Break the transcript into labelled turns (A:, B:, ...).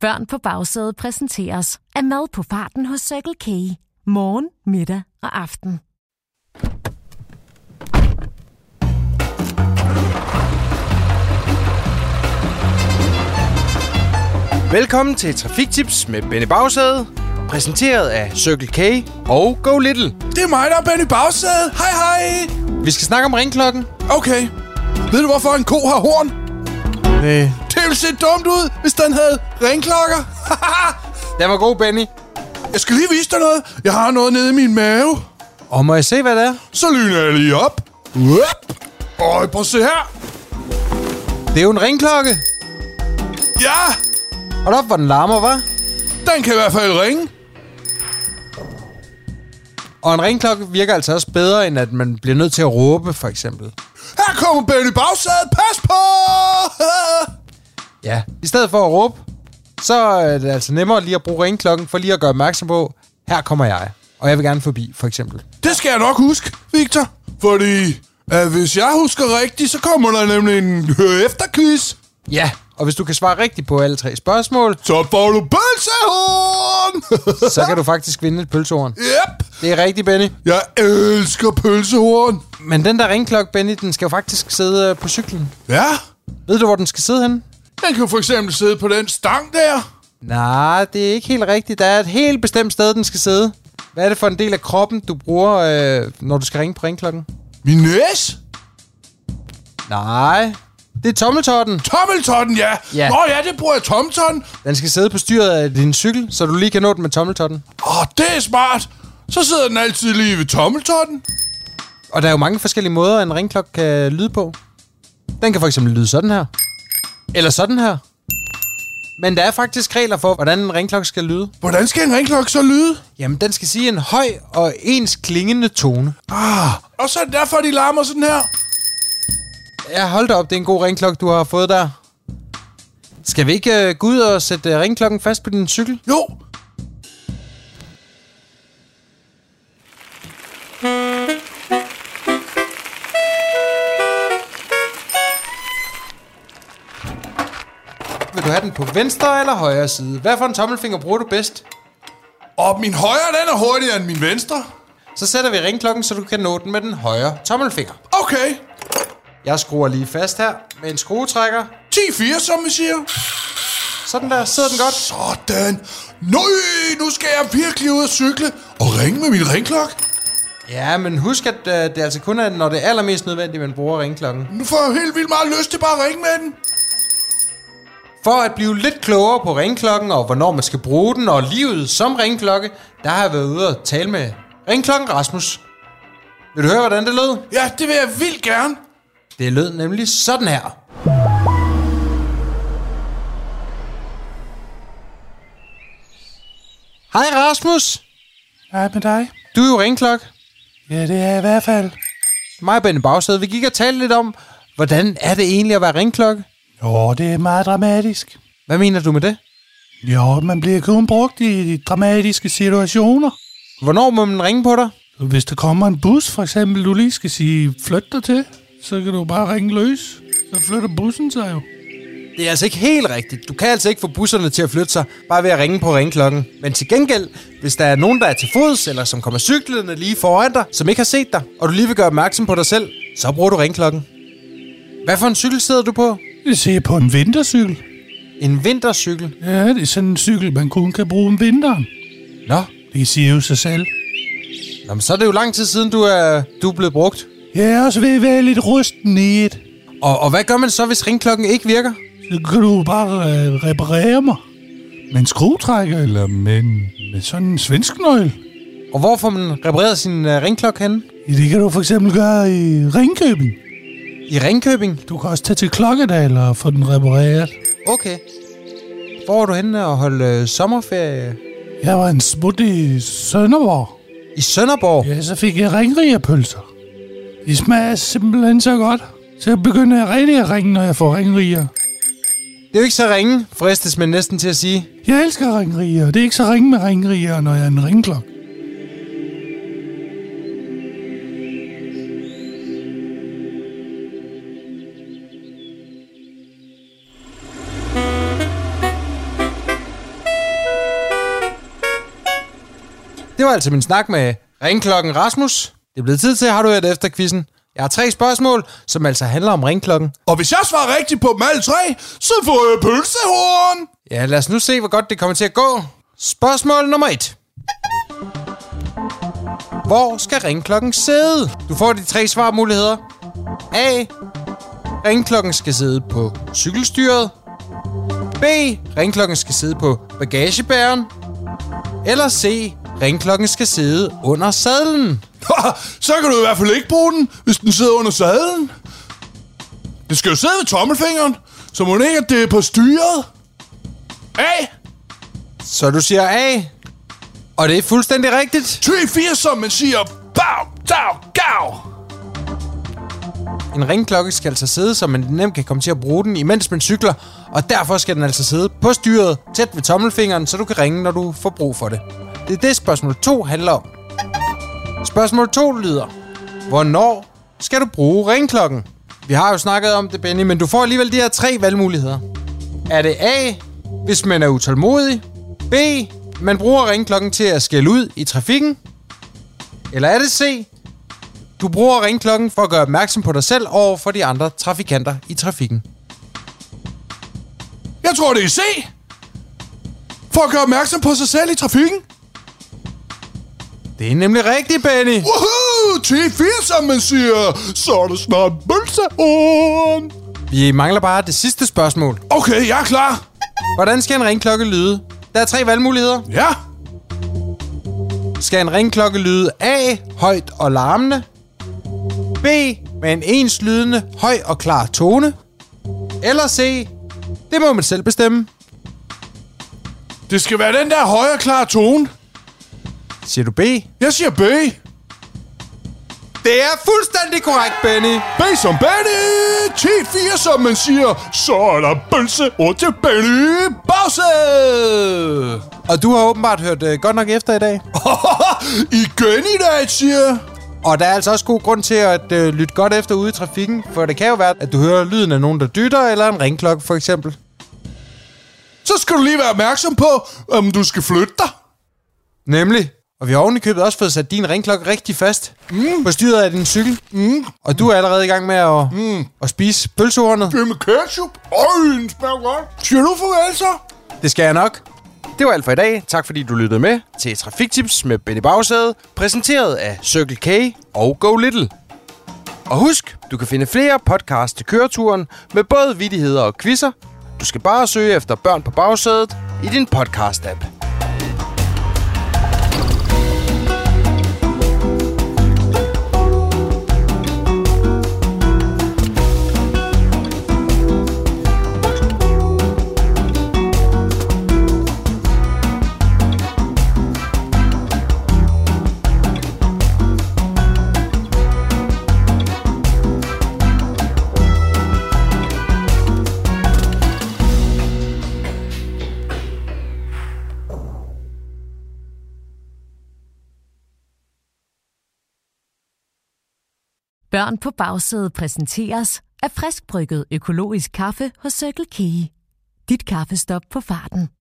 A: Børn på bagsædet præsenteres af mad på farten hos Circle K. Morgen, middag og aften.
B: Velkommen til Trafiktips med Benny Bagsæde, præsenteret af Circle K og Go Little.
C: Det er mig, der er Benny Bagsæde. Hej, hej.
B: Vi skal snakke om ringklokken.
C: Okay. Ved du, hvorfor en ko har horn?
B: Øh.
C: Det ville se dumt ud, hvis den havde ringklokker.
B: Den var god, Benny.
C: jeg skal lige vise dig noget. Jeg har noget nede i min mave.
B: Og må jeg se, hvad det er?
C: Så lyner jeg lige op. Up. Øj, prøv at se her.
B: Det er jo en ringklokke.
C: Ja,
B: Hold op, hvor den larmer, hva'?
C: den kan i hvert fald ringe.
B: Og en ringklokke virker altså også bedre, end at man bliver nødt til at råbe, for eksempel.
C: Her kommer Benny Bagsæde. Pas på.
B: Ja. I stedet for at råbe, så er det altså nemmere lige at bruge ringklokken for lige at gøre opmærksom på, her kommer jeg, og jeg vil gerne forbi, for eksempel.
C: det skal jeg nok huske, Victor. Fordi at hvis jeg husker rigtigt, så kommer der nemlig en øh, efterquiz.
B: Ja, og hvis du kan svare rigtigt på alle tre spørgsmål,
C: Så får du pølsehorn!
B: så kan du faktisk vinde et pølsehorn.
C: Yep!
B: Det er rigtigt, Benny.
C: Jeg elsker pølsehorn!
B: Men den der ringklokke, Benny, den skal jo faktisk sidde øh, på cyklen.
C: Ja,
B: Ved du, hvor den skal sidde henne?
C: den kan for eksempel sidde på den stang der.
B: Nej, det er ikke helt rigtigt. Der er et helt bestemt sted, den skal sidde. Hvad er det for en del af kroppen, du bruger, øh, når du skal ringe på ringklokken?
C: Min næse?
B: Nej, det er tommeltotten.
C: Tommeltotten, ja!
B: Ja.
C: Nå ja, det bruger jeg tommeltotten.
B: Den skal sidde på styret af din cykel, så du lige kan nå den med tommeltotten.
C: Åh, det er smart. Så sidder den altid lige ved tommeltotten.
B: Og der er jo mange forskellige måder, en ringklokke kan lyde på. Den kan for eksempel lyde sådan her. Eller sådan her. Men der er faktisk regler for, hvordan en ringklokke skal lyde.
C: Hvordan skal en ringklokke så lyde?
B: Jamen, den skal sige en høj og ens klingende tone.
C: Ah, og så er det derfor, de larmer sådan her.
B: Ja, hold da op, det er en god ringklokke, du har fået der. Skal vi ikke øh, gå ud og sætte øh, ringklokken fast på din cykel?
C: Jo,
B: Vil du have den på venstre eller højre side? Hvad for en tommelfinger bruger du bedst?
C: og min højre, den er hurtigere end min venstre.
B: Så sætter vi ringklokken, så du kan nå den med den højre tommelfinger.
C: Okay,
B: Jeg skruer lige fast her med en skruetrækker.
C: 10-4, som vi siger.
B: Sådan der, sidder den godt.
C: Sådan. Nøj, nu skal jeg virkelig ud og cykle og ringe med min ringklokke.
B: Ja, men husk, at øh, det er altså kun er, når det er allermest nødvendigt, man bruger ringklokken.
C: Nu får jeg helt vildt meget lyst til bare at ringe med den.
B: For at blive lidt klogere på ringklokken og hvornår man skal bruge den og livet som ringklokke, der har jeg været ude og tale med ringklokken Rasmus. Vil du høre, hvordan det lød?
C: Ja, det vil jeg vildt gerne.
B: Det lød nemlig sådan her. Hej Rasmus,
C: Hej med dig.
B: du er jo ringklok.
C: Ja, det er jeg i hvert fald.
B: Mig og Benny Bagsted, vi gik og talte lidt om, hvordan er det egentlig at være ringklokke?
D: Jo, det er meget dramatisk.
B: Hvad mener du med det?
D: Jo, man bliver kun brugt i de dramatiske situationer.
B: Hvornår må man ringe på dig?
D: Hvis der kommer en bus, for eksempel, du lige skal sige, flyt dig til, så kan du bare ringe løs. Så flytter bussen sig jo.
B: Det er altså ikke helt rigtigt. Du kan altså ikke få busserne til at flytte sig, bare ved at ringe på ringklokken. Men til gengæld, hvis der er nogen, der er til fods, eller som kommer cyklerne lige foran dig, som ikke har set dig, og du lige vil gøre opmærksom på dig selv, så bruger du ringklokken. Hvad for en cykel sidder du på?
D: Det ser jeg på en vintercykel.
B: En vintercykel.
D: Ja, det er sådan en cykel, man kun kan bruge om vinteren.
B: Nå,
D: Det siger jo sig selv.
B: Nå men så er det jo lang tid siden, du er, du er blevet brugt.
D: Jeg er også ved at være lidt rusten i et.
B: Og, og hvad gør man så, hvis ringklokken ikke virker?
D: Så kan du bare øh, reparere mig. Med en skruetrækker, eller med, en, med sådan en svensk nøgle.
B: Og hvor får man repareret sin uh, ringklokke henne?
D: Ja, det kan du for eksempel gøre i Ringkøbing.
B: I Ringkøbing?
D: Du kan også tage til Klokkedal og få den repareret.
B: Okay. Hvor er du henne og holde uh, sommerferie?
D: Jeg var en smut i Sønderborg.
B: I Sønderborg?
D: Ja, så fik jeg ringrigerpølser. De smager simpelthen så godt. Så jeg begynder jeg rigtig at ringe, når jeg får ringriger.
B: Det er jo ikke så ringe, fristes man næsten til at sige.
D: Jeg elsker ringriger. Det er ikke så ringe med ringriger, når jeg er en ringklok.
B: Det var altså min snak med ringklokken Rasmus. Det er blevet tid til, har du hørt efter quizzen. Jeg har tre spørgsmål, som altså handler om ringklokken.
C: Og hvis jeg svarer rigtigt på dem alle tre, så får jeg pølsehorn.
B: Ja, lad os nu se, hvor godt det kommer til at gå. Spørgsmål nummer et. Hvor skal ringklokken sidde? Du får de tre svarmuligheder. A. Ringklokken skal sidde på cykelstyret. B. Ringklokken skal sidde på bagagebæren. Eller C. Ringklokken skal sidde under sadlen.
C: så kan du i hvert fald ikke bruge den, hvis den sidder under sadlen. Det skal jo sidde ved tommelfingeren, så må den ikke, at det er på styret. A,
B: Så du siger A. Og det er fuldstændig rigtigt.
C: 3-4, som man siger, bag, dag, gav.
B: En ringklokke skal altså sidde, så man nemt kan komme til at bruge den, imens man cykler, og derfor skal den altså sidde på styret, tæt ved tommelfingeren, så du kan ringe, når du får brug for det. Det er det, spørgsmål 2 handler om. Spørgsmål 2 lyder, hvornår skal du bruge ringklokken? Vi har jo snakket om det, Benny, men du får alligevel de her tre valgmuligheder. Er det A, hvis man er utålmodig? B, man bruger ringklokken til at skælde ud i trafikken? Eller er det C, du bruger ringklokken for at gøre opmærksom på dig selv og for de andre trafikanter i trafikken.
C: Jeg tror, det er C. For at gøre opmærksom på sig selv i trafikken.
B: Det er nemlig rigtigt, Benny.
C: Woohoo! 3-4, som man siger, så er der snart pølsehorn.
B: Vi mangler bare det sidste spørgsmål.
C: Okay, jeg er klar.
B: Hvordan skal en ringklokke lyde? Der er tre valgmuligheder.
C: Ja.
B: Skal en ringklokke lyde A, højt og larmende? B, med en enslydende, høj og klar tone? Eller C, det må man selv bestemme.
C: Det skal være den der højre klare tone.
B: Siger du B?
C: Jeg siger B.
B: Det er fuldstændig korrekt, Benny.
C: B som Benny. 10-4, som man siger, så er der pølse og til Benny Basse.
B: Og du har åbenbart hørt øh, godt nok efter i dag.
C: Igen i dag, siger jeg.
B: Og der er altså også god grund til at øh, lytte godt efter ude i trafikken, for det kan jo være, at du hører lyden af nogen, der dytter, eller en ringklokke for eksempel.
C: Så skal du lige være opmærksom på, om du skal flytte dig.
B: Nemlig. Og vi har ovenikøbet også fået sat din ringklokke rigtig fast mm. på styret af din cykel. Mm. Og du er allerede i gang med at, mm. at spise pølsehornet.
C: Det er med ketchup. Øj, den smager godt. Siger du farvel så?
B: Det skal jeg nok. Det var alt for i dag. Tak fordi du lyttede med til Trafiktips med Benny Bagsæde, præsenteret af Circle K og Go Little. Og husk, du kan finde flere podcasts til køreturen med både vidigheder og quizzer. Du skal bare søge efter børn på bagsædet i din podcast-app.
A: Børn på bagsædet præsenteres af friskbrygget økologisk kaffe hos Circle K. Dit kaffestop på farten.